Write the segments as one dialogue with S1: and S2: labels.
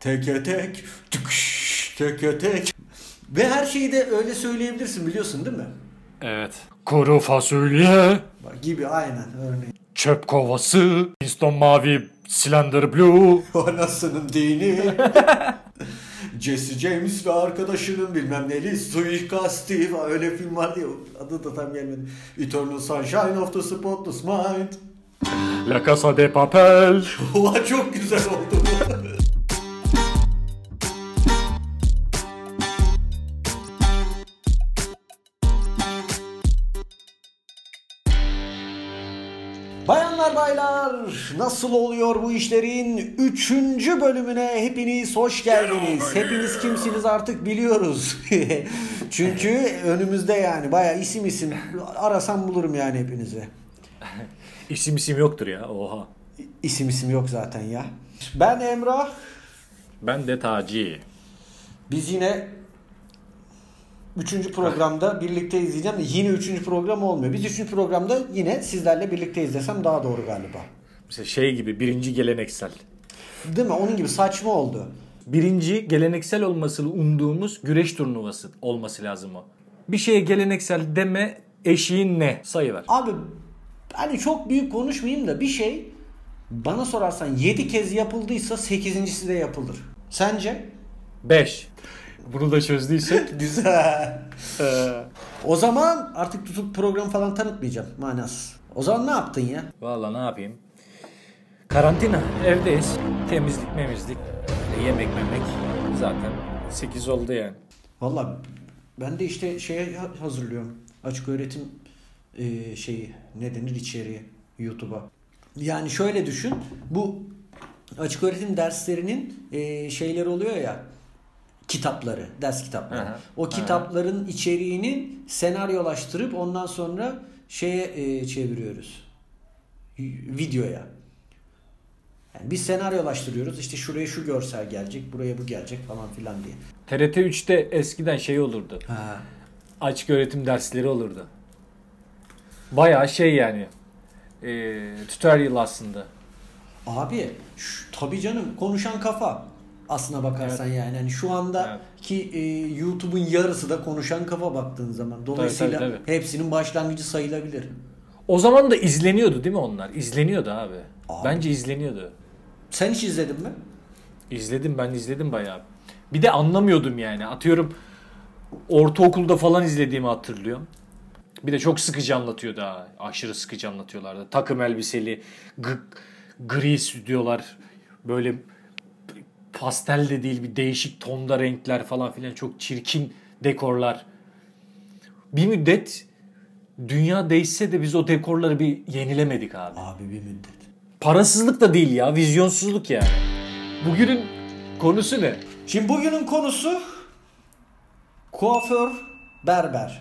S1: Teke tek. Tıkış. Teke tek. Ve her şeyi de öyle söyleyebilirsin biliyorsun değil mi?
S2: Evet.
S3: Kuru fasulye,
S1: Bak Gibi aynen örneğin.
S3: çöp kovası, piston mavi, Slender Blue,
S1: Anasının dini. Jesse James ve arkadaşının bilmem neli suikasti falan öyle film var diye adı da tam gelmedi. Eternal Sunshine of the Spotless Mind.
S3: La Casa de Papel,
S1: Oha çok güzel oldu bu. Bayanlar baylar nasıl oluyor bu işlerin 3. bölümüne hepiniz hoş geldiniz. Hepiniz kimsiniz artık biliyoruz. Çünkü önümüzde yani baya isim isim arasam bulurum yani hepinizi.
S3: İsim isim yoktur ya oha.
S1: İsim isim yok zaten ya. Ben Emrah.
S2: Ben de Taci.
S1: Biz yine 3. programda birlikteyiz diyeceğim de yine 3. program olmuyor. Biz 3. programda yine sizlerle birlikteyiz desem daha doğru galiba.
S3: Mesela şey gibi birinci geleneksel.
S1: Değil mi? Onun gibi saçma oldu.
S3: Birinci geleneksel olması umduğumuz güreş turnuvası olması lazım o. Bir şeye geleneksel deme eşiğin ne? Sayı ver.
S1: Abi hani çok büyük konuşmayayım da bir şey bana sorarsan 7 kez yapıldıysa 8.si de yapılır. Sence?
S3: 5. Bunu da çözdüysek.
S1: Güzel. o zaman artık tutup program falan tanıtmayacağım manas. O zaman ne yaptın ya?
S3: Valla ne yapayım? Karantina. Evdeyiz. Temizlik memizlik. Yemek memek. Zaten 8 oldu yani.
S1: Valla ben de işte şeye ha- hazırlıyorum. Açık öğretim e, şeyi ne denir içeriği YouTube'a. Yani şöyle düşün. Bu açık öğretim derslerinin e, şeyleri oluyor ya kitapları, ders kitapları.
S3: Aha,
S1: O kitapların içeriğini senaryolaştırıp ondan sonra şeye e, çeviriyoruz. Y- Videoya. Yani biz senaryolaştırıyoruz. İşte şuraya şu görsel gelecek, buraya bu gelecek falan filan diye.
S3: TRT 3'te eskiden şey olurdu.
S1: Ha.
S3: Açık öğretim dersleri olurdu. Baya şey yani. E, tutorial aslında.
S1: Abi şu, tabii canım konuşan kafa aslına bakarsan yani. yani şu andaki e, YouTube'un yarısı da konuşan kafa baktığın zaman. Dolayısıyla
S3: tabii, tabii.
S1: hepsinin başlangıcı sayılabilir.
S3: O zaman da izleniyordu değil mi onlar? İzleniyordu abi.
S1: Abi.
S3: Bence izleniyordu.
S1: Sen hiç izledin mi?
S3: İzledim ben izledim bayağı. Bir de anlamıyordum yani. Atıyorum ortaokulda falan izlediğimi hatırlıyorum. Bir de çok sıkıcı anlatıyordu ha. Aşırı sıkıcı anlatıyorlardı. Takım elbiseli, g- gri stüdyolar, böyle pastel de değil bir değişik tonda renkler falan filan çok çirkin dekorlar. Bir müddet dünya değişse de biz o dekorları bir yenilemedik abi.
S1: Abi bir müddet.
S3: Parasızlık da değil ya, vizyonsuzluk yani. Bugünün konusu ne?
S1: Şimdi bugünün konusu kuaför berber.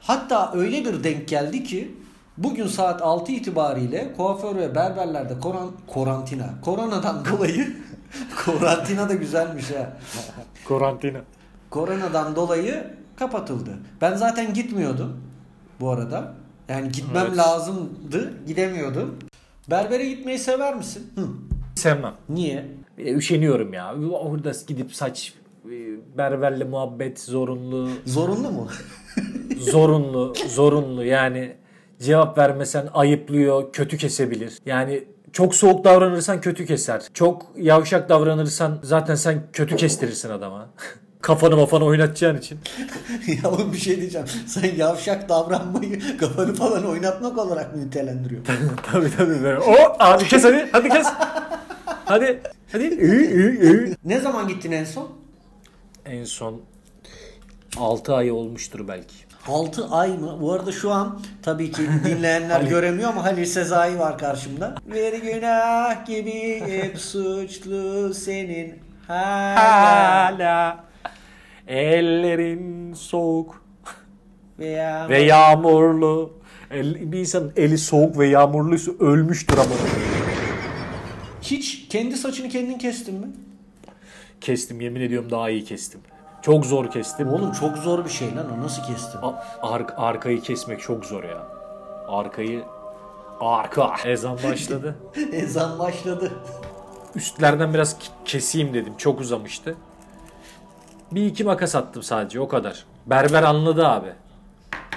S1: Hatta öyle bir denk geldi ki bugün saat 6 itibariyle kuaför ve berberlerde koran, karantina. Koronadan dolayı karantina da güzelmiş ha.
S3: Karantina.
S1: Koronadan dolayı kapatıldı. Ben zaten gitmiyordum bu arada. Yani gitmem
S3: Evet.
S1: lazımdı, gidemiyordum. Berbere gitmeyi sever misin? Hı.
S3: Sevmem.
S1: Niye?
S3: Bir de üşeniyorum ya. Orada gidip saç e, berberle muhabbet zorunlu.
S1: Zorunlu mu?
S3: Zorunlu, zorunlu. Yani cevap vermesen ayıplıyor, kötü kesebilir. Yani çok soğuk davranırsan kötü keser. Çok yavşak davranırsan zaten sen kötü kestirirsin adama. Kafanı mafanı oynatacağın için.
S1: ya oğlum bir şey diyeceğim. Sen yavşak davranmayı kafanı falan oynatmak olarak mı nitelendiriyorsun?
S3: tabii tabii böyle. O abi kes hadi. Hadi kes. Hadi. Hadi. Ü, ü, ü.
S1: ne zaman gittin en son?
S3: En son 6 ay olmuştur belki.
S1: 6 ay mı? Bu arada şu an tabii ki dinleyenler göremiyor ama Halil Sezai var karşımda. Bir günah gibi hep suçlu senin hala.
S3: Hala ellerin soğuk
S1: Veya
S3: ve yağmurlu. El- bir insanın eli soğuk ve yağmurluysa ölmüştür ama.
S1: hiç kendi saçını kendin kestin mi?
S3: Kestim yemin ediyorum daha iyi kestim. Çok zor kestim.
S1: Oğlum çok zor bir şey lan o nasıl kestin?
S3: A- ar- arkayı kesmek çok zor ya. Arkayı Arka. Ezan başladı.
S1: Ezan başladı.
S3: üstlerden biraz k- keseyim dedim. Çok uzamıştı. Bir iki makas attım sadece o kadar. Berber anladı abi.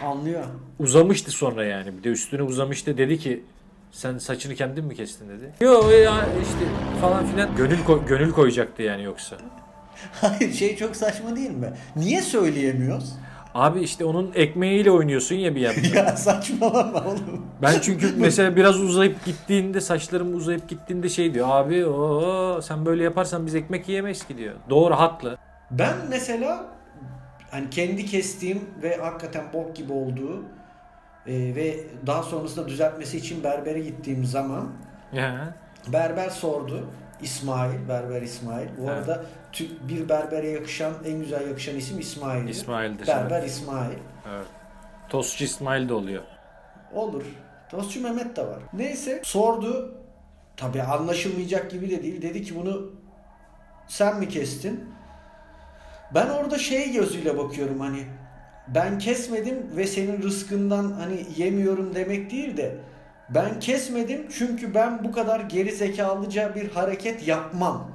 S1: Anlıyor.
S3: Uzamıştı sonra yani. Bir de üstüne uzamıştı. Dedi ki sen saçını kendin mi kestin dedi. Yo ya işte falan filan. Gönül ko- gönül koyacaktı yani yoksa.
S1: Hayır şey çok saçma değil mi? Niye söyleyemiyoruz?
S3: Abi işte onun ekmeğiyle oynuyorsun ya bir yandan.
S1: ya saçmalama oğlum.
S3: Ben çünkü mesela biraz uzayıp gittiğinde saçlarım uzayıp gittiğinde şey diyor. Abi o sen böyle yaparsan biz ekmek yiyemeyiz ki diyor. Doğru haklı.
S1: Ben mesela hani kendi kestiğim ve hakikaten bok gibi olduğu e, ve daha sonrasında düzeltmesi için berbere gittiğim zaman
S3: Ya.
S1: berber sordu. İsmail, berber İsmail. Bu
S3: Evet.
S1: arada tü- bir berbere yakışan, en güzel yakışan isim İsmail'dir.
S3: İsmail'dir.
S1: Berber İsmail.
S3: Evet. Tostçu İsmail de oluyor.
S1: Olur. Tostçu Mehmet de var. Neyse sordu. Tabi anlaşılmayacak gibi de değil. Dedi ki bunu sen mi kestin? Ben orada şey gözüyle bakıyorum hani ben kesmedim ve senin rızkından hani yemiyorum demek değil de ben kesmedim çünkü ben bu kadar geri zekalıca bir hareket yapmam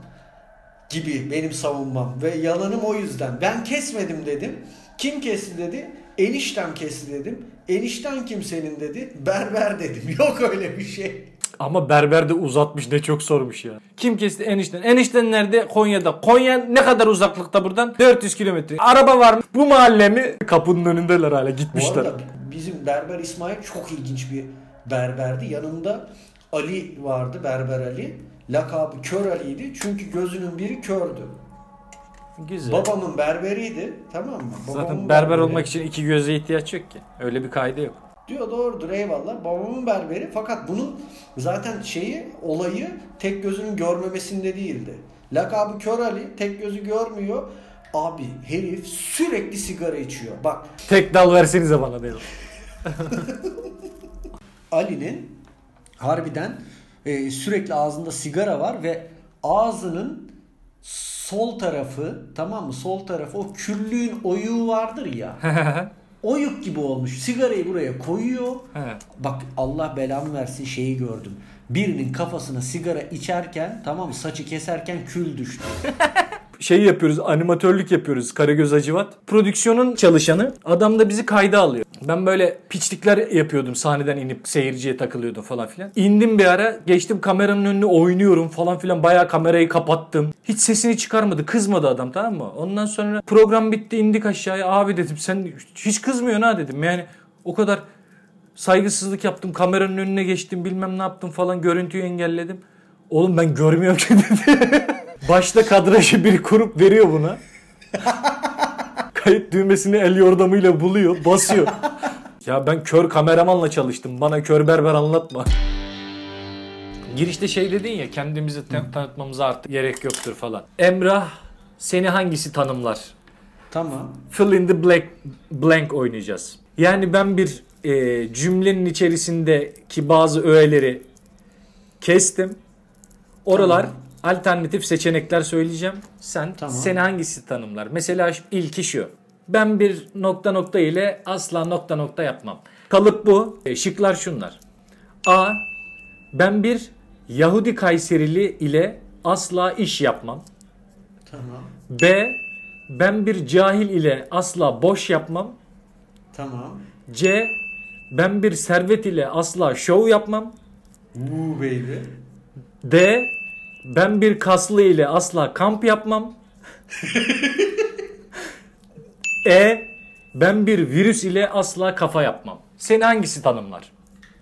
S1: gibi benim savunmam ve yalanım o yüzden. Ben kesmedim dedim. Kim kesti dedi? Eniştem kesti dedim. Enişten kim senin dedi? Berber dedim. Yok öyle bir şey.
S3: Ama berber de uzatmış ne çok sormuş ya. Kim kesti enişten? Enişten nerede? Konya'da. Konya ne kadar uzaklıkta buradan? 400 kilometre. Araba var mı? Bu mahalle mi? Kapının önündeler hala
S1: Bu
S3: gitmişler.
S1: arada bizim Berber İsmail çok ilginç bir berberdi. Yanında Ali vardı. Berber Ali. Lakabı Kör Ali'ydi. Çünkü gözünün biri kördü.
S3: Güzel.
S1: Babamın berberiydi. Tamam mı? Babamın
S3: Zaten berber
S1: berberi.
S3: olmak için iki göze ihtiyaç yok ki. Öyle bir kaydı yok.
S1: Diyor doğrudur eyvallah babamın berberi fakat bunun zaten şeyi olayı tek gözünün görmemesinde değildi. Lakabı Kör Ali tek gözü görmüyor. Abi herif sürekli sigara içiyor. Bak
S3: Tek dal versenize bana dedim.
S1: Ali'nin harbiden e, sürekli ağzında sigara var ve ağzının sol tarafı tamam mı sol tarafı o küllüğün oyuğu vardır ya oyuk gibi olmuş sigarayı buraya koyuyor
S3: He.
S1: bak Allah belamı versin şeyi gördüm birinin kafasına sigara içerken tamam mı saçı keserken kül düştü
S3: şey yapıyoruz animatörlük yapıyoruz Karagöz Acıvat. Prodüksiyonun çalışanı adam da bizi kayda alıyor. Ben böyle piçlikler yapıyordum sahneden inip seyirciye takılıyordum falan filan. İndim bir ara geçtim kameranın önüne oynuyorum falan filan bayağı kamerayı kapattım. Hiç sesini çıkarmadı kızmadı adam tamam mı? Ondan sonra program bitti indik aşağıya abi dedim sen hiç kızmıyorsun ha dedim. Yani o kadar saygısızlık yaptım kameranın önüne geçtim bilmem ne yaptım falan görüntüyü engelledim. Oğlum ben görmüyorum ki dedi. Başta kadrajı biri kurup veriyor buna. Kayıt düğmesini el yordamıyla buluyor basıyor. ya ben kör kameramanla çalıştım bana kör berber anlatma. Girişte şey dedin ya kendimizi te- tanıtmamıza artık gerek yoktur falan. Emrah seni hangisi tanımlar?
S1: tamam
S3: fill in the blank, blank oynayacağız. Yani ben bir e, cümlenin içerisindeki bazı öğeleri kestim. Oralar alternatif seçenekler söyleyeceğim. Sen
S1: Tamam.
S3: seni hangisi tanımlar? Mesela şu- ilki şu. Ben bir nokta nokta ile asla nokta nokta yapmam. Kalıp bu. E, şıklar şunlar. A. Ben bir Yahudi Kayserili ile asla iş yapmam.
S1: tamam
S3: B. Ben bir cahil ile asla boş yapmam.
S1: tamam
S3: C. Ben bir servet ile asla şov yapmam.
S1: Woo baby
S3: D. Ben bir kaslı ile asla kamp yapmam. e. Ben bir virüs ile asla kafa yapmam. Seni hangisi tanımlar?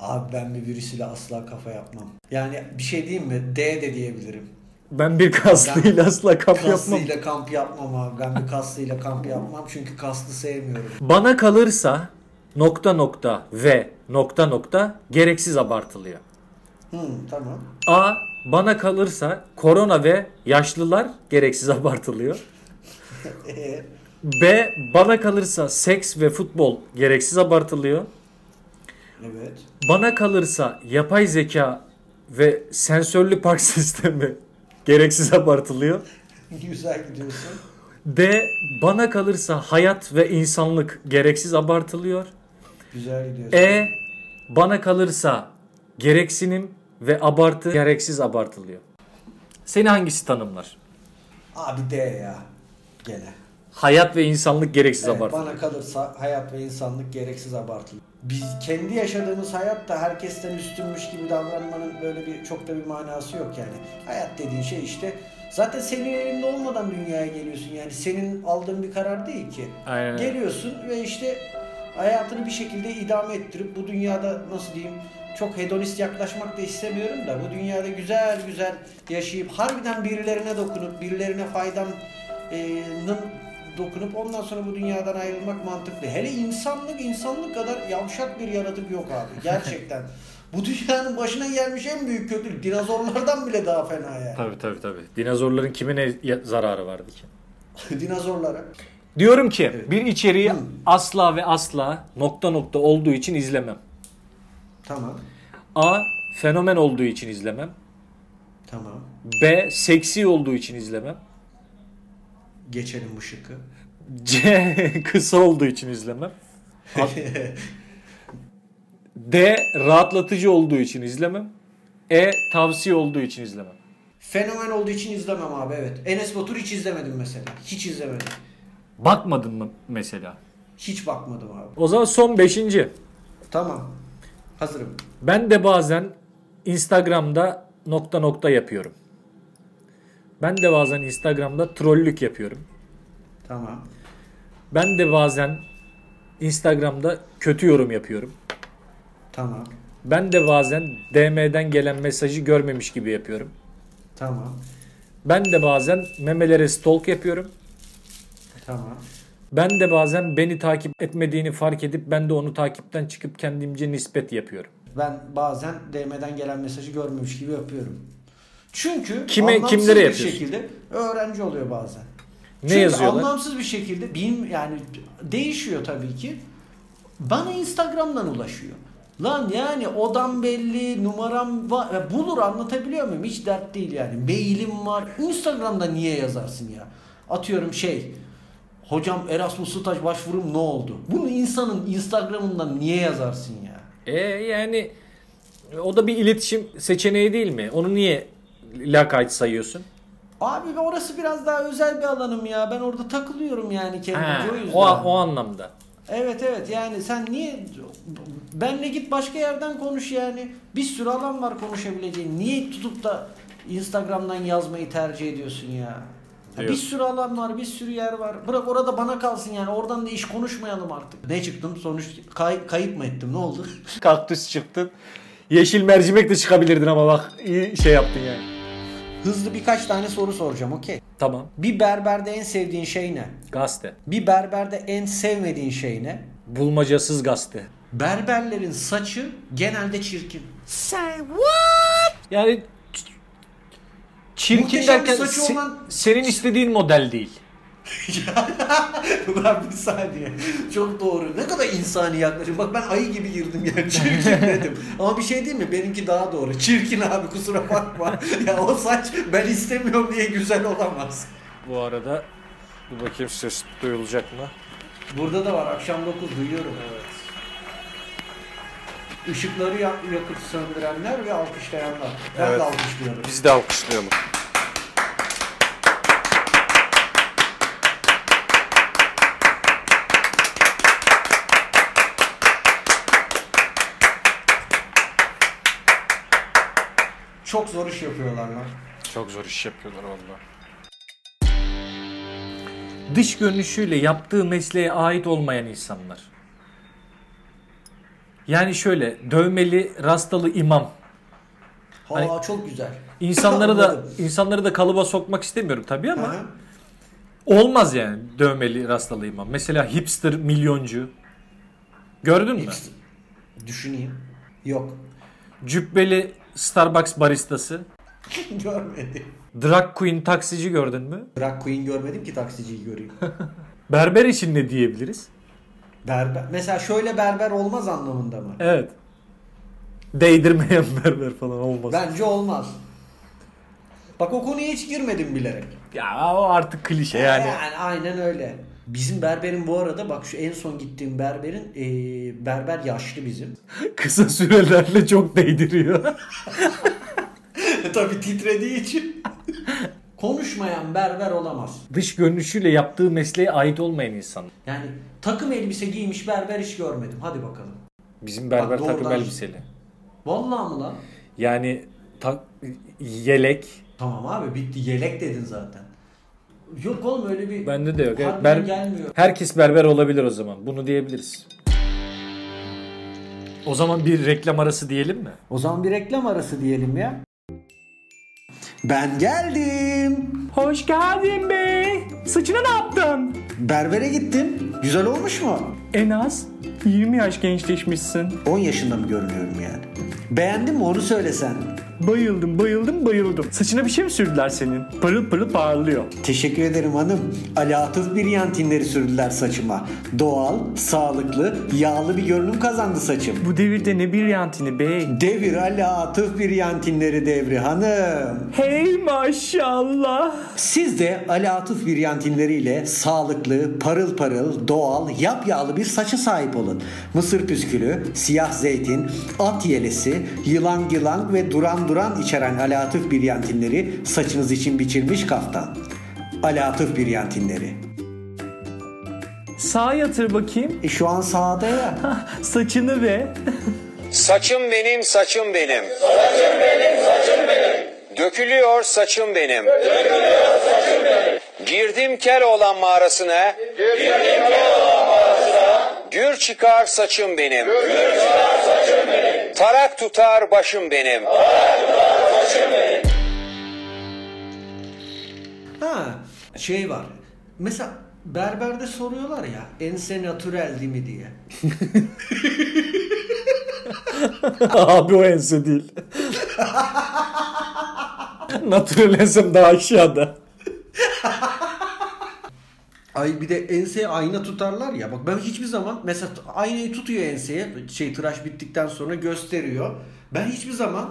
S1: Abi ben bir virüsüyle asla kafa yapmam. Yani bir şey diyeyim mi? D de diyebilirim.
S3: Ben bir kaslı
S1: Ben
S3: ile asla kamp yapmam.
S1: Kaslıyla kamp yapmam abi. Ben bir kaslıyla kamp yapmam çünkü kaslı sevmiyorum.
S3: Bana kalırsa nokta nokta ve nokta nokta gereksiz abartılıyor.
S1: Hmm, tamam.
S3: A. Bana kalırsa korona ve yaşlılar gereksiz abartılıyor.
S1: Ee,
S3: B. Bana kalırsa seks ve futbol gereksiz abartılıyor.
S1: evet.
S3: Bana kalırsa yapay zeka ve sensörlü park sistemi gereksiz abartılıyor.
S1: Güzel gidiyorsun.
S3: D. Bana kalırsa hayat ve insanlık gereksiz abartılıyor.
S1: Güzel gidiyorsun.
S3: E. Bana kalırsa gereksinim ve abartı gereksiz abartılıyor. Seni hangisi tanımlar?
S1: Abi D ya. Gene.
S3: Hayat ve insanlık gereksiz
S1: Evet,
S3: abartı.
S1: bana kalırsa hayat ve insanlık gereksiz abartılı. Biz kendi yaşadığımız hayat da herkesten üstünmüş gibi davranmanın böyle bir çok da bir manası yok yani. Hayat dediğin şey işte zaten senin elinde olmadan dünyaya geliyorsun yani senin aldığın bir karar değil ki.
S3: Aynen öyle.
S1: Geliyorsun ve işte hayatını bir şekilde idame ettirip bu dünyada nasıl diyeyim çok hedonist yaklaşmak da istemiyorum da bu dünyada güzel güzel yaşayıp harbiden birilerine dokunup birilerine faydanın dokunup ondan sonra bu dünyadan ayrılmak mantıklı. Hele insanlık insanlık kadar yavşak bir yaratık yok abi gerçekten. bu dünyanın başına gelmiş en büyük kötülük dinozorlardan bile daha fena yani.
S3: Tabii tabii tabii. Dinozorların kime ne ya- zararı vardı ki?
S1: Dinozorlara.
S3: Diyorum ki bir içeriği
S1: Hı.
S3: asla ve asla nokta nokta olduğu için izlemem.
S1: Tamam.
S3: A. Fenomen olduğu için izlemem.
S1: Tamam.
S3: B. Seksi olduğu için izlemem.
S1: Geçelim bu şıkkı.
S3: C. Kısa olduğu için izlemem. D. Rahatlatıcı olduğu için izlemem. E. Tavsiye olduğu için izlemem.
S1: Fenomen olduğu için izlemem abi evet. Enes Batur hiç izlemedim mesela. Hiç izlemedim.
S3: Bakmadın mı mesela?
S1: Hiç bakmadım abi.
S3: O zaman son beşinci.
S1: Tamam. Hazırım.
S3: Ben de bazen Instagram'da nokta nokta yapıyorum. Ben de bazen Instagram'da trollük yapıyorum.
S1: Tamam.
S3: Ben de bazen Instagram'da kötü yorum yapıyorum.
S1: Tamam.
S3: Ben de bazen DM'den gelen mesajı görmemiş gibi yapıyorum.
S1: Tamam.
S3: Ben de bazen memelere stalk yapıyorum.
S1: Tamam.
S3: Ben de bazen beni takip etmediğini fark edip ben de onu takipten çıkıp kendimce nispet yapıyorum.
S1: Ben bazen DM'den gelen mesajı görmemiş gibi yapıyorum. Çünkü
S3: Kime-
S1: anlamsız
S3: kimlere
S1: bir
S3: yapıyorsun?
S1: şekilde öğrenci oluyor bazen.
S3: Ne
S1: Çünkü
S3: yazıyorlar?
S1: anlamsız bir şekilde bin yani değişiyor tabii ki. Bana Instagram'dan ulaşıyor. Lan yani odam belli, numaram var. Ya Bulur anlatabiliyor muyum? Hiç dert değil yani. Mailim var. Instagram'da niye yazarsın ya? Atıyorum şey. Hocam Erasmus staj başvurum ne oldu? Bunu insanın Instagram'ından niye yazarsın ya?
S3: E yani o da bir iletişim seçeneği değil mi? Onu niye lakayt sayıyorsun?
S1: Abi orası biraz daha özel bir alanım ya. Ben orada takılıyorum yani
S3: Ha,
S1: kendimce o yüzden.
S3: o, o anlamda.
S1: Evet evet yani sen niye benle git başka yerden konuş yani. Bir sürü alan var konuşabileceğin. Niye tutup da Instagram'dan yazmayı tercih ediyorsun ya? Ya Bir
S2: Diyorsun.
S1: sürü alan var, bir sürü yer var. Bırak orada bana kalsın yani. Oradan da iş konuşmayalım artık. Ne çıktım? Sonuç kay- kayıp mı ettim? Ne oldu?
S3: Kaktüs çıktın. Yeşil mercimek de çıkabilirdin ama bak iyi şey yaptın yani.
S1: Hızlı birkaç tane soru soracağım. Okey.
S3: Tamam.
S1: Bir berberde en sevdiğin şey ne?
S3: Gazete.
S1: Bir berberde en sevmediğin şey ne?
S3: Bulmacasız gazete.
S1: Berberlerin saçı genelde çirkin. Sen
S3: Yani ç- çirkin
S1: Muhteşem bir
S3: derken
S1: saçı
S3: se-
S1: olan-
S3: senin istediğin model değil.
S1: Ulan bir saniye. Çok doğru. Ne kadar insani yaklaşım. Bak ben ayı gibi girdim yani. Çirkin dedim. Ama bir şey değil mi? Benimki daha doğru. Çirkin abi kusura bakma. ya o saç ben istemiyorum diye güzel olamaz.
S3: Bu arada bir bakayım ses duyulacak mı?
S1: Burada da var. Akşam 9 duyuyorum. Evet. Işıkları yak- yakıp söndürenler ve alkışlayanlar. Ben
S3: Evet.
S1: de alkışlıyorum.
S3: Biz de alkışlayalım.
S1: Çok zor iş yapıyorlar lan.
S2: Çok zor iş yapıyorlar valla.
S3: Dış görünüşüyle yaptığı mesleğe ait olmayan insanlar. Yani şöyle dövmeli, rastalı imam.
S1: Ha
S3: Hani-
S1: çok güzel.
S3: İnsanları da
S1: Anladım.
S3: insanları da kalıba sokmak istemiyorum tabii ama
S1: Aha.
S3: olmaz yani dövmeli, rastalı imam. Mesela hipster milyoncu. Gördün mü?
S1: Hipster- Düşüneyim. Yok.
S3: Cübbeli Starbucks baristası.
S1: Görmedim.
S3: Drag queen taksici gördün mü?
S1: Drag Queen görmedim ki taksiciyi göreyim.
S3: Berber için ne diyebiliriz?
S1: berber. Mesela şöyle berber olmaz anlamında mı?
S3: Evet. Değdirmeyen berber falan olmaz.
S1: Bence olmaz. Bak o konuya hiç girmedim bilerek.
S3: Ya o artık klişe yani.
S1: aynen öyle. Bizim berberin bu arada bak şu en son gittiğim berberin eee, berber yaşlı bizim.
S3: Kısa sürelerle çok değdiriyor.
S1: Tabii titrediği için. Konuşmayan berber olamaz.
S3: Dış görünüşüyle yaptığı mesleğe ait olmayan insan.
S1: Yani takım elbise giymiş berber hiç görmedim. Hadi bakalım.
S3: Bizim berber
S1: Bak,
S3: takım
S1: doğrudan-
S3: elbiseli.
S1: Vallahi mı lan?
S3: Yani tak, yelek.
S1: Tamam abi bitti. Yelek dedin zaten. Yok oğlum öyle bir...
S3: Bende de yok.
S1: Harbiden
S3: Evet, ber-
S1: gelmiyor.
S3: herkes berber olabilir o zaman. Bunu diyebiliriz. O zaman bir reklam arası diyelim mi?
S1: O zaman bir reklam arası diyelim ya. Ben geldim.
S3: Hoş geldin be. Saçını ne yaptın?
S1: Berbere gittim. Güzel olmuş mu?
S3: En az 20 yaş gençleşmişsin.
S1: 10 yaşında mı görünüyorum yani? Beğendin mi onu söylesen.
S3: Bayıldım, bayıldım, bayıldım. Saçına bir şey mi sürdüler senin? Parıl parıl parlıyor.
S1: Teşekkür ederim hanım. Alatif bir yantinleri sürdüler saçıma. Doğal, sağlıklı, yağlı bir görünüm kazandı saçım.
S3: Bu devirde ne bir yantini bey.
S1: Devir alatif bir yantinleri devri hanım.
S3: Hey maşallah.
S1: Siz de alatif bir yantinleriyle sağlıklı, parıl parıl, doğal, yapyağlı bir saça sahip olun. Mısır püskülü, siyah zeytin, at yelesi, yılan yılan ve duran duran içeren alatif bir yantinleri saçınız için biçilmiş kaftan. Alatif bir yantinleri.
S3: Sağa yatır bakayım.
S1: E şu an sağda ya.
S3: Saçını ve.
S4: Saçım benim, saçım benim. Saçım benim, saçım benim. Dökülüyor saçım benim. Dökülüyor saçım benim. Girdim kel olan mağarasına. Girdim kel olan mağarasına. Gür çıkar saçım benim. Gür çıkar saçım benim. Tarak tutar başım benim.
S1: Ha şey var. Mesela berberde soruyorlar ya ense natüreldi mi diye.
S3: Abi o ense değil. Natural ensem daha aşağıda.
S1: Ay bir de enseye ayna tutarlar ya. Bak ben hiçbir zaman mesela aynayı tutuyor enseye şey tıraş bittikten sonra gösteriyor. Ben hiçbir zaman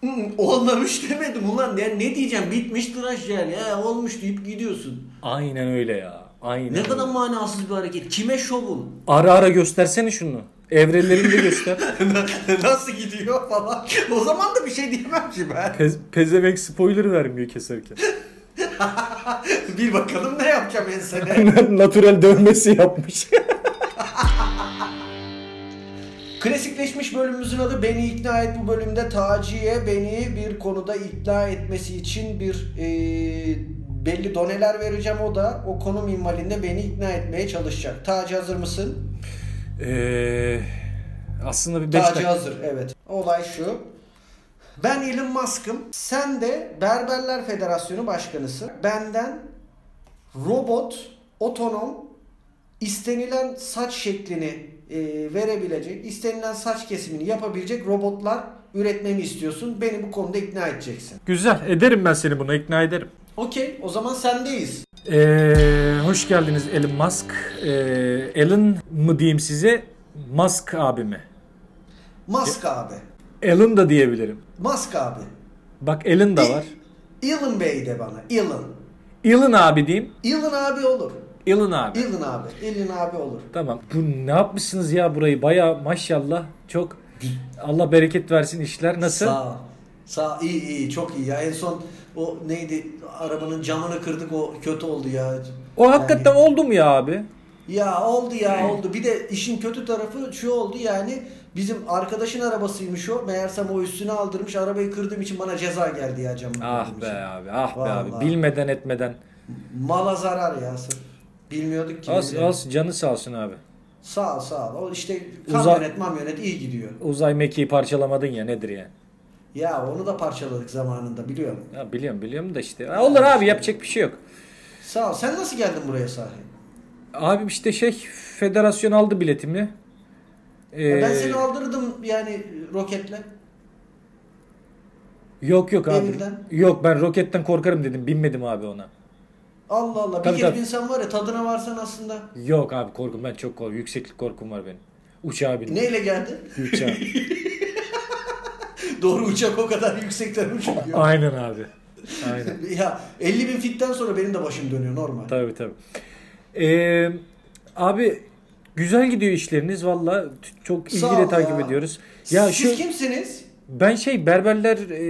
S1: "Hı, olmamış demedim ulan ya ne diyeceğim bitmiş tıraş yani ya olmuş deyip gidiyorsun.
S3: Aynen öyle ya. Aynen.
S1: Ne kadar manasız bir hareket. Kime şovun?
S3: Ara ara göstersene şunu. Evrelerini de göster.
S1: Nasıl gidiyor falan. O zaman da bir şey diyemem ki ben.
S3: Pez, pezevenk spoiler vermiyor keserken.
S1: bir bakalım ne yapacağım ensene.
S3: Natural dövmesi yapmış.
S1: Klasikleşmiş bölümümüzün adı Beni ikna et bu bölümde Taci'ye beni bir konuda ikna etmesi için bir e, belli doneler vereceğim o da o konu minvalinde beni ikna etmeye çalışacak. Taci hazır mısın?
S3: Ee, aslında bir 5
S1: Taci
S3: dakika.
S1: hazır evet. Olay şu. Ben Elon Musk'ım. Sen de Berberler Federasyonu Başkanısın. Benden robot, otonom, istenilen saç şeklini e, verebilecek, istenilen saç kesimini yapabilecek robotlar üretmemi istiyorsun. Beni bu konuda ikna edeceksin.
S3: Güzel. Ederim ben seni buna ikna ederim.
S1: Okey, o zaman sendeyiz.
S3: Ee, hoş geldiniz Elon Musk. Ee, Elon mı diyeyim size? Musk abi mi?
S1: Musk abi.
S3: Elon da diyebilirim.
S1: Musk abi.
S3: Bak Elon da var.
S1: Elon Bey de bana. Elon.
S3: Elon abi diyeyim.
S1: Elon abi olur.
S3: Elon abi.
S1: Elon abi. Elon abi olur.
S3: Tamam. Bu ne yapmışsınız ya burayı? Baya maşallah çok Allah bereket versin işler. Nasıl?
S1: Sağ ol. Sağ iyi iyi çok iyi ya. En son o neydi arabanın camını kırdık o kötü oldu ya.
S3: O hakikaten oldu mu ya abi?
S1: Ya oldu ya oldu. Bir de işin kötü tarafı şu oldu yani bizim arkadaşın arabasıymış o. Meğersem o üstüne aldırmış. Arabayı kırdığım için bana ceza geldi ya camın.
S3: Ah
S1: kırdığım
S3: be
S1: için.
S3: abi, ah be abi.
S1: Vallahi.
S3: Bilmeden etmeden.
S1: Mala zarar ya. sırf. Bilmiyorduk ki.
S3: Az
S1: birbirimizi.
S3: az canı sağ olsun abi.
S1: Sağ ol sağ ol. O işte
S3: Uzak-
S1: kamyonet mamyonet iyi gidiyor.
S3: Uzay mekiği parçalamadın ya nedir yani?
S1: Ya onu da parçaladık zamanında biliyor musun?
S3: Ya biliyorum biliyorum da işte. Ha, olur abi yapacak bir şey yok.
S1: Sağ ol. Sen nasıl geldin buraya sahi?
S3: Abi işte şey federasyon aldı biletimi.
S1: Ya Ben
S3: Ee,
S1: seni aldırdım yani roketle.
S3: Yok yok abi.
S1: Demirden.
S3: Yok ben roketten korkarım dedim. Binmedim abi ona.
S1: Allah Allah. Bir
S3: Tabii,
S1: kere
S3: tabii.
S1: insan var ya tadına varsan aslında.
S3: Yok abi korkum ben çok korkum. Yükseklik korkum var benim. Uçağa bindim.
S1: Neyle geldin?
S3: Uçağa.
S1: Doğru uçak o kadar yüksekten uçmuyor.
S3: Aynen abi. Aynen.
S1: Ya 50 bin fitten sonra benim de başım dönüyor normal.
S3: Tabii tabii. Ee, abi güzel gidiyor işleriniz valla. T- Çok
S1: Sağ ol
S3: ilgiyle takip
S1: ya.
S3: ediyoruz. Ya
S1: Siz
S3: şu
S1: kimsiniz?
S3: Ben şey Berberler e,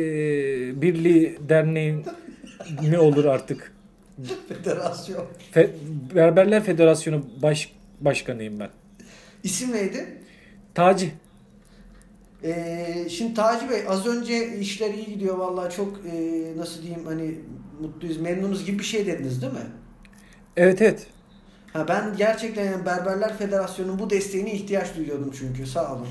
S3: Birliği Derneği ne olur artık?
S1: Federasyon.
S3: Fe- Berberler Federasyonu baş, başkanıyım ben.
S1: İsim neydi?
S3: Taci.
S1: Ee, şimdi Taci Bey az önce işler iyi gidiyor vallahi çok e, nasıl diyeyim hani mutluyuz memnunuz gibi bir şey dediniz değil mi?
S3: Evet evet.
S1: Ha ben gerçekten yani Berberler Federasyonu'nun bu desteğine ihtiyaç duyuyordum çünkü sağ olun.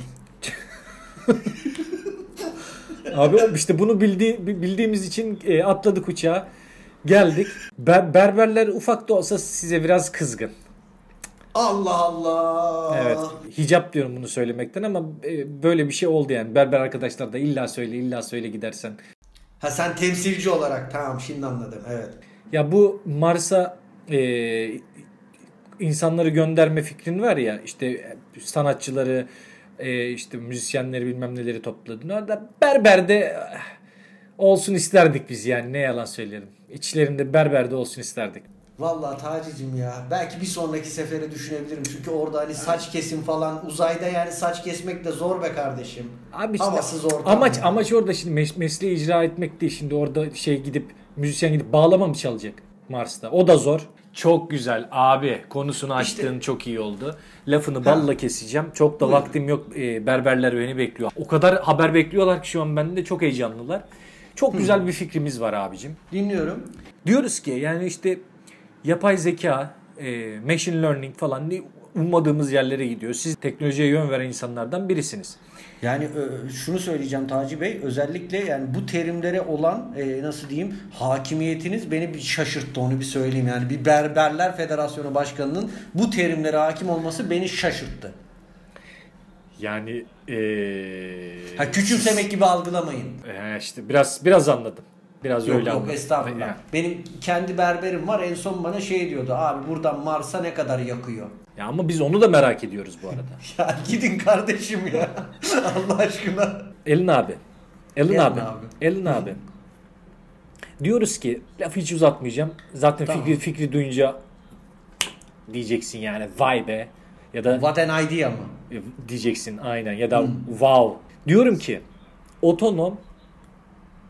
S3: Abi işte bunu bildi, bildiğimiz için e, atladık uçağa. Geldik. Ber- berberler ufak da olsa size biraz kızgın.
S1: Allah Allah.
S3: Evet. Hicap diyorum bunu söylemekten ama e, böyle bir şey oldu yani. Berber arkadaşlar da illa söyle illa söyle gidersen.
S1: Ha sen temsilci olarak tamam şimdi anladım evet.
S3: Ya bu Mars'a e, insanları gönderme fikrin var ya işte sanatçıları e, işte müzisyenleri bilmem neleri topladın. Orada berberde ah, olsun isterdik biz yani ne yalan söylerim. İçlerinde berberde olsun isterdik.
S1: Vallahi Taci'cim ya belki bir sonraki sefere düşünebilirim çünkü orada hani saç kesim falan uzayda yani saç kesmek de zor be kardeşim.
S3: Abi işte
S1: Havasız ortam
S3: amaç
S1: ya.
S3: amaç orada şimdi mes- mesleği icra etmek değil. Şimdi orada şey gidip müzisyen gidip bağlama mı çalacak Mars'ta? O da zor. Çok güzel abi. Konusunu açtığın çok iyi oldu. Lafını balla keseceğim. Çok da vaktim yok. Ee, berberler beni bekliyor. O kadar haber bekliyorlar ki şu an bende çok heyecanlılar. Çok güzel bir fikrimiz var abicim.
S1: Dinliyorum.
S3: Diyoruz ki yani işte yapay zeka, e, machine learning falan diye ummadığımız yerlere gidiyor. Siz teknolojiye yön veren insanlardan birisiniz.
S1: Yani e, şunu söyleyeceğim Taci Bey özellikle yani bu terimlere olan e, nasıl diyeyim hakimiyetiniz beni bir şaşırttı onu bir söyleyeyim yani bir Berberler Federasyonu Başkanı'nın bu terimlere hakim olması beni şaşırttı.
S3: Yani eee
S1: Ha küçümsemek gibi algılamayın.
S3: eee, işte biraz biraz anladım. Biraz
S1: Yok
S3: öyle
S1: yok
S3: anladım.
S1: estağfurullah.
S3: Ya,
S1: Benim kendi berberim var en son bana şey diyordu abi buradan Mars'a ne kadar yakıyor.
S3: ya ama biz onu da merak ediyoruz bu arada.
S1: Ya gidin kardeşim ya Allah aşkına.
S3: Elin abi. Elin,
S1: Elin
S3: abi.
S1: abi.
S3: Elin abi. Diyoruz ki lafı hiç uzatmayacağım. Zaten
S1: Tamam.
S3: fikri fikri duyunca diyeceksin yani vay be ya da
S1: What an idea mı?
S3: e, diyeceksin aynen ya da wow. Diyorum ki otonom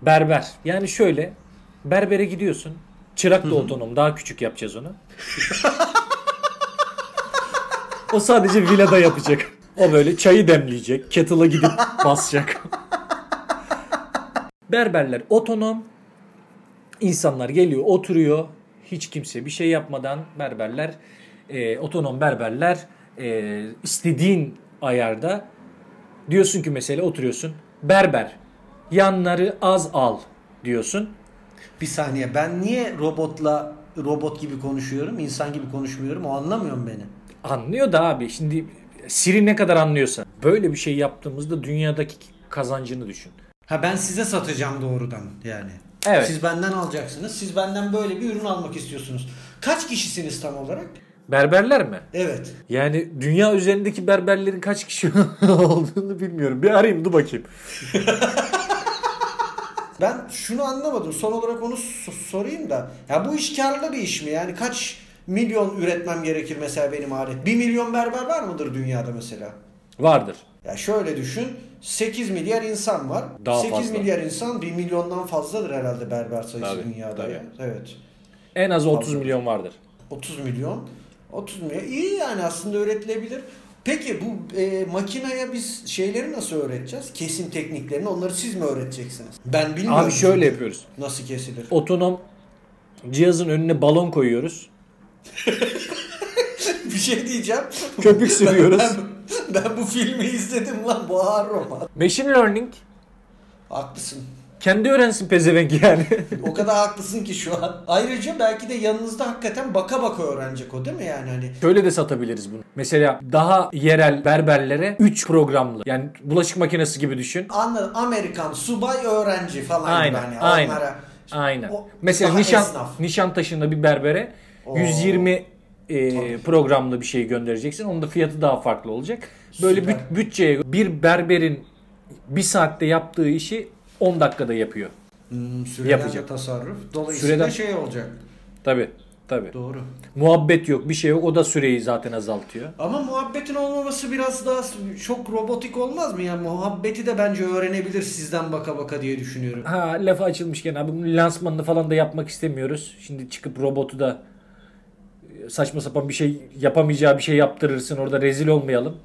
S3: berber. Yani şöyle berbere gidiyorsun. Çırak da otonom. Daha küçük yapacağız onu. o sadece villada yapacak. O böyle çayı demleyecek. Kettle'a gidip basacak. Berberler otonom. İnsanlar geliyor oturuyor. Hiç kimse bir şey yapmadan berberler, e, otonom berberler e, istediğin ayarda diyorsun ki mesela oturuyorsun. Berber yanları az al diyorsun.
S1: Bir saniye ben niye robotla robot gibi konuşuyorum insan gibi konuşmuyorum o anlamıyorum beni.
S3: Anlıyor da abi şimdi Siri ne kadar anlıyorsa. Böyle bir şey yaptığımızda dünyadaki kazancını düşün.
S1: Ha ben size satacağım doğrudan yani.
S3: Evet.
S1: Siz benden alacaksınız. Siz benden böyle bir ürün almak istiyorsunuz. Kaç kişisiniz tam olarak?
S3: Berberler mi?
S1: Evet.
S3: Yani dünya üzerindeki berberlerin kaç kişi olduğunu bilmiyorum. Bir arayayım dur bakayım.
S1: Ben şunu anlamadım. Son olarak onu so- sorayım da. Ya bu iş karlı bir iş mi? Yani kaç milyon üretmem gerekir mesela benim alet? 1 milyon berber var mıdır dünyada mesela?
S3: Vardır.
S1: Ya şöyle düşün. 8 milyar insan var.
S3: Daha
S1: 8
S3: fazla.
S1: milyar insan 1 milyondan fazladır herhalde berber sayısı
S3: Tabii,
S1: dünyada.
S3: tabii.
S1: Ya. Evet.
S3: En az 30 milyon vardır.
S1: 30 milyon. 30 milyon. İyi yani aslında öğretilebilir. Peki bu e, makinaya biz şeyleri nasıl öğreteceğiz? Kesim tekniklerini onları siz mi öğreteceksiniz? Ben bilmiyorum.
S3: Abi şöyle
S1: çünkü.
S3: yapıyoruz.
S1: Nasıl kesilir?
S3: Otonom cihazın önüne balon koyuyoruz.
S1: bir şey diyeceğim.
S3: Köpük sürüyoruz.
S1: Ben, ben bu filmi izledim lan. Bu ağır roman.
S3: Machine learning
S1: Haklısın.
S3: kendi öğrensin pezevenk yani.
S1: O kadar haklısın ki şu an. Ayrıca belki de yanınızda hakikaten baka baka öğrenecek o değil mi yani hani?
S3: Şöyle de satabiliriz bunu. Mesela daha yerel berberlere 3 programlı yani bulaşık makinesi gibi düşün.
S1: Anladım. Amerikan subay öğrenci falan
S3: Aynen,
S1: gibi hani.
S3: aynen.
S1: Onlara,
S3: Aynen.
S1: O
S3: Mesela
S1: daha
S3: nişan
S1: esnaf.
S3: Nişantaşı'nda bir berbere
S1: Oo.
S3: 120 e, programlı bir şey göndereceksin. Onun da fiyatı daha farklı olacak. Böyle
S1: Süper.
S3: büt- bütçeye göre bir berberin bir saatte yaptığı işi 10 dakikada yapıyor.
S1: Hmm, süreden
S3: Yapacak.
S1: de tasarruf. Dolayısıyla
S3: Süreden-
S1: şey olacak.
S3: Tabii. Tabii.
S1: Doğru.
S3: Muhabbet yok, bir şey yok. O da süreyi zaten azaltıyor.
S1: Ama muhabbetin olmaması biraz daha çok robotik olmaz mı? Yani muhabbeti de bence öğrenebilir sizden baka baka diye düşünüyorum.
S3: Ha lafı açılmışken abi bunun lansmanını falan da yapmak istemiyoruz. Şimdi çıkıp robotu da e, saçma sapan bir şey yapamayacağı bir şey yaptırırsın. Orada rezil olmayalım.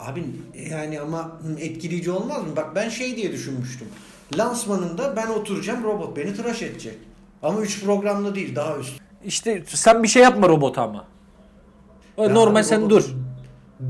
S1: Abi yani ama etkileyici olmaz mı? Bak ben şey diye düşünmüştüm. Lansmanında ben oturacağım robot beni tıraş edecek. Ama 3 programlı değil daha üst.
S3: İşte sen bir şey yapma robota ama. O
S1: Ya
S3: normal
S1: abi
S3: sen
S1: robot-
S3: dur.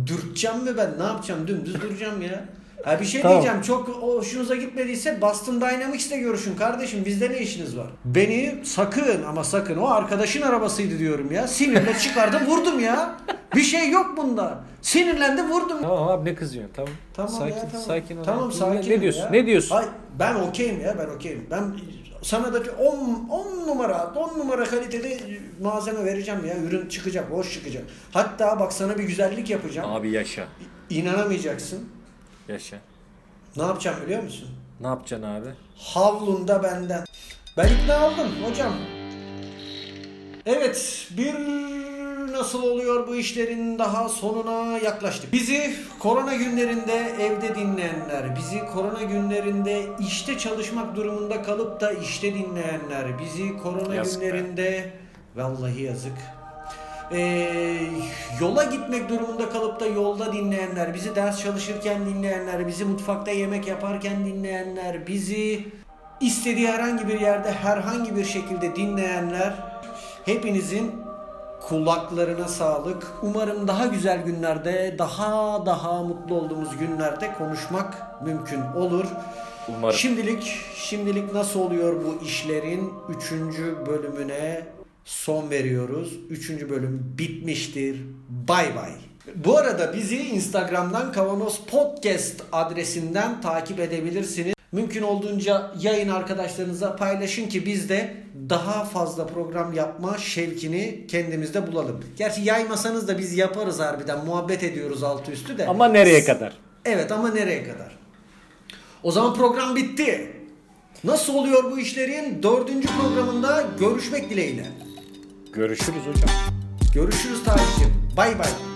S1: Dürteceğim mi ben? Ne yapacağım? Dümdüz duracağım ya. Ha bir şey
S3: Tamam.
S1: diyeceğim. Çok o hoşunuza gitmediyse Boston Dynamics'le görüşün kardeşim. Bizde ne işiniz var? Beni sakın ama sakın o arkadaşın arabasıydı diyorum ya. Sinirle çıkardım vurdum ya. Bir şey yok bunda. Sinirlendim vurdum.
S3: Tamam abi ne kızıyorsun? Tamam.
S1: Tamam
S3: sakin,
S1: ya tamam.
S3: sakin ol.
S1: Tamam
S3: Ne-
S1: sakin.
S3: Ne diyorsun?
S1: ya.
S3: Ne diyorsun?
S1: Ay, ben okeyim ya ben okeyim. Ben sana da 10 10 numara 10 numara kalitede malzeme vereceğim ya. Ürün çıkacak, hoş çıkacak. Hatta bak sana bir güzellik yapacağım.
S3: Abi yaşa.
S1: İnanamayacaksın.
S3: Yaşa.
S1: Ne yapacağım biliyor musun?
S3: Ne yapacaksın abi?
S1: Havlunda benden. Ben ikna oldum hocam. Evet bir nasıl oluyor bu işlerin daha sonuna yaklaştık. Bizi korona günlerinde evde dinleyenler, bizi korona günlerinde işte çalışmak durumunda kalıp da işte dinleyenler, bizi korona
S3: Yazık be.
S1: günlerinde vallahi yazık. Ee, yola gitmek durumunda kalıp da yolda dinleyenler, bizi ders çalışırken dinleyenler, bizi mutfakta yemek yaparken dinleyenler, bizi istediği herhangi bir yerde herhangi bir şekilde dinleyenler hepinizin kulaklarına sağlık. Umarım daha güzel günlerde, daha daha mutlu olduğumuz günlerde konuşmak mümkün olur.
S3: Umarım.
S1: Şimdilik şimdilik nasıl oluyor bu işlerin 3. bölümüne son veriyoruz. 3. bölüm bitmiştir. Bay bay. Bu arada bizi Instagram'dan Kavanoz Podcast adresinden takip edebilirsiniz. Mümkün olduğunca yayın arkadaşlarınıza paylaşın ki biz de daha fazla program yapma şevkini kendimizde bulalım. Gerçi yaymasanız da biz yaparız harbiden. Muhabbet ediyoruz altı üstü de.
S3: Ama nereye kadar?
S1: Evet ama nereye kadar? O zaman program bitti. Nasıl oluyor bu işlerin dördüncü programında görüşmek dileğiyle.
S3: Görüşürüz hocam.
S1: Görüşürüz tarihçim. Bay bay.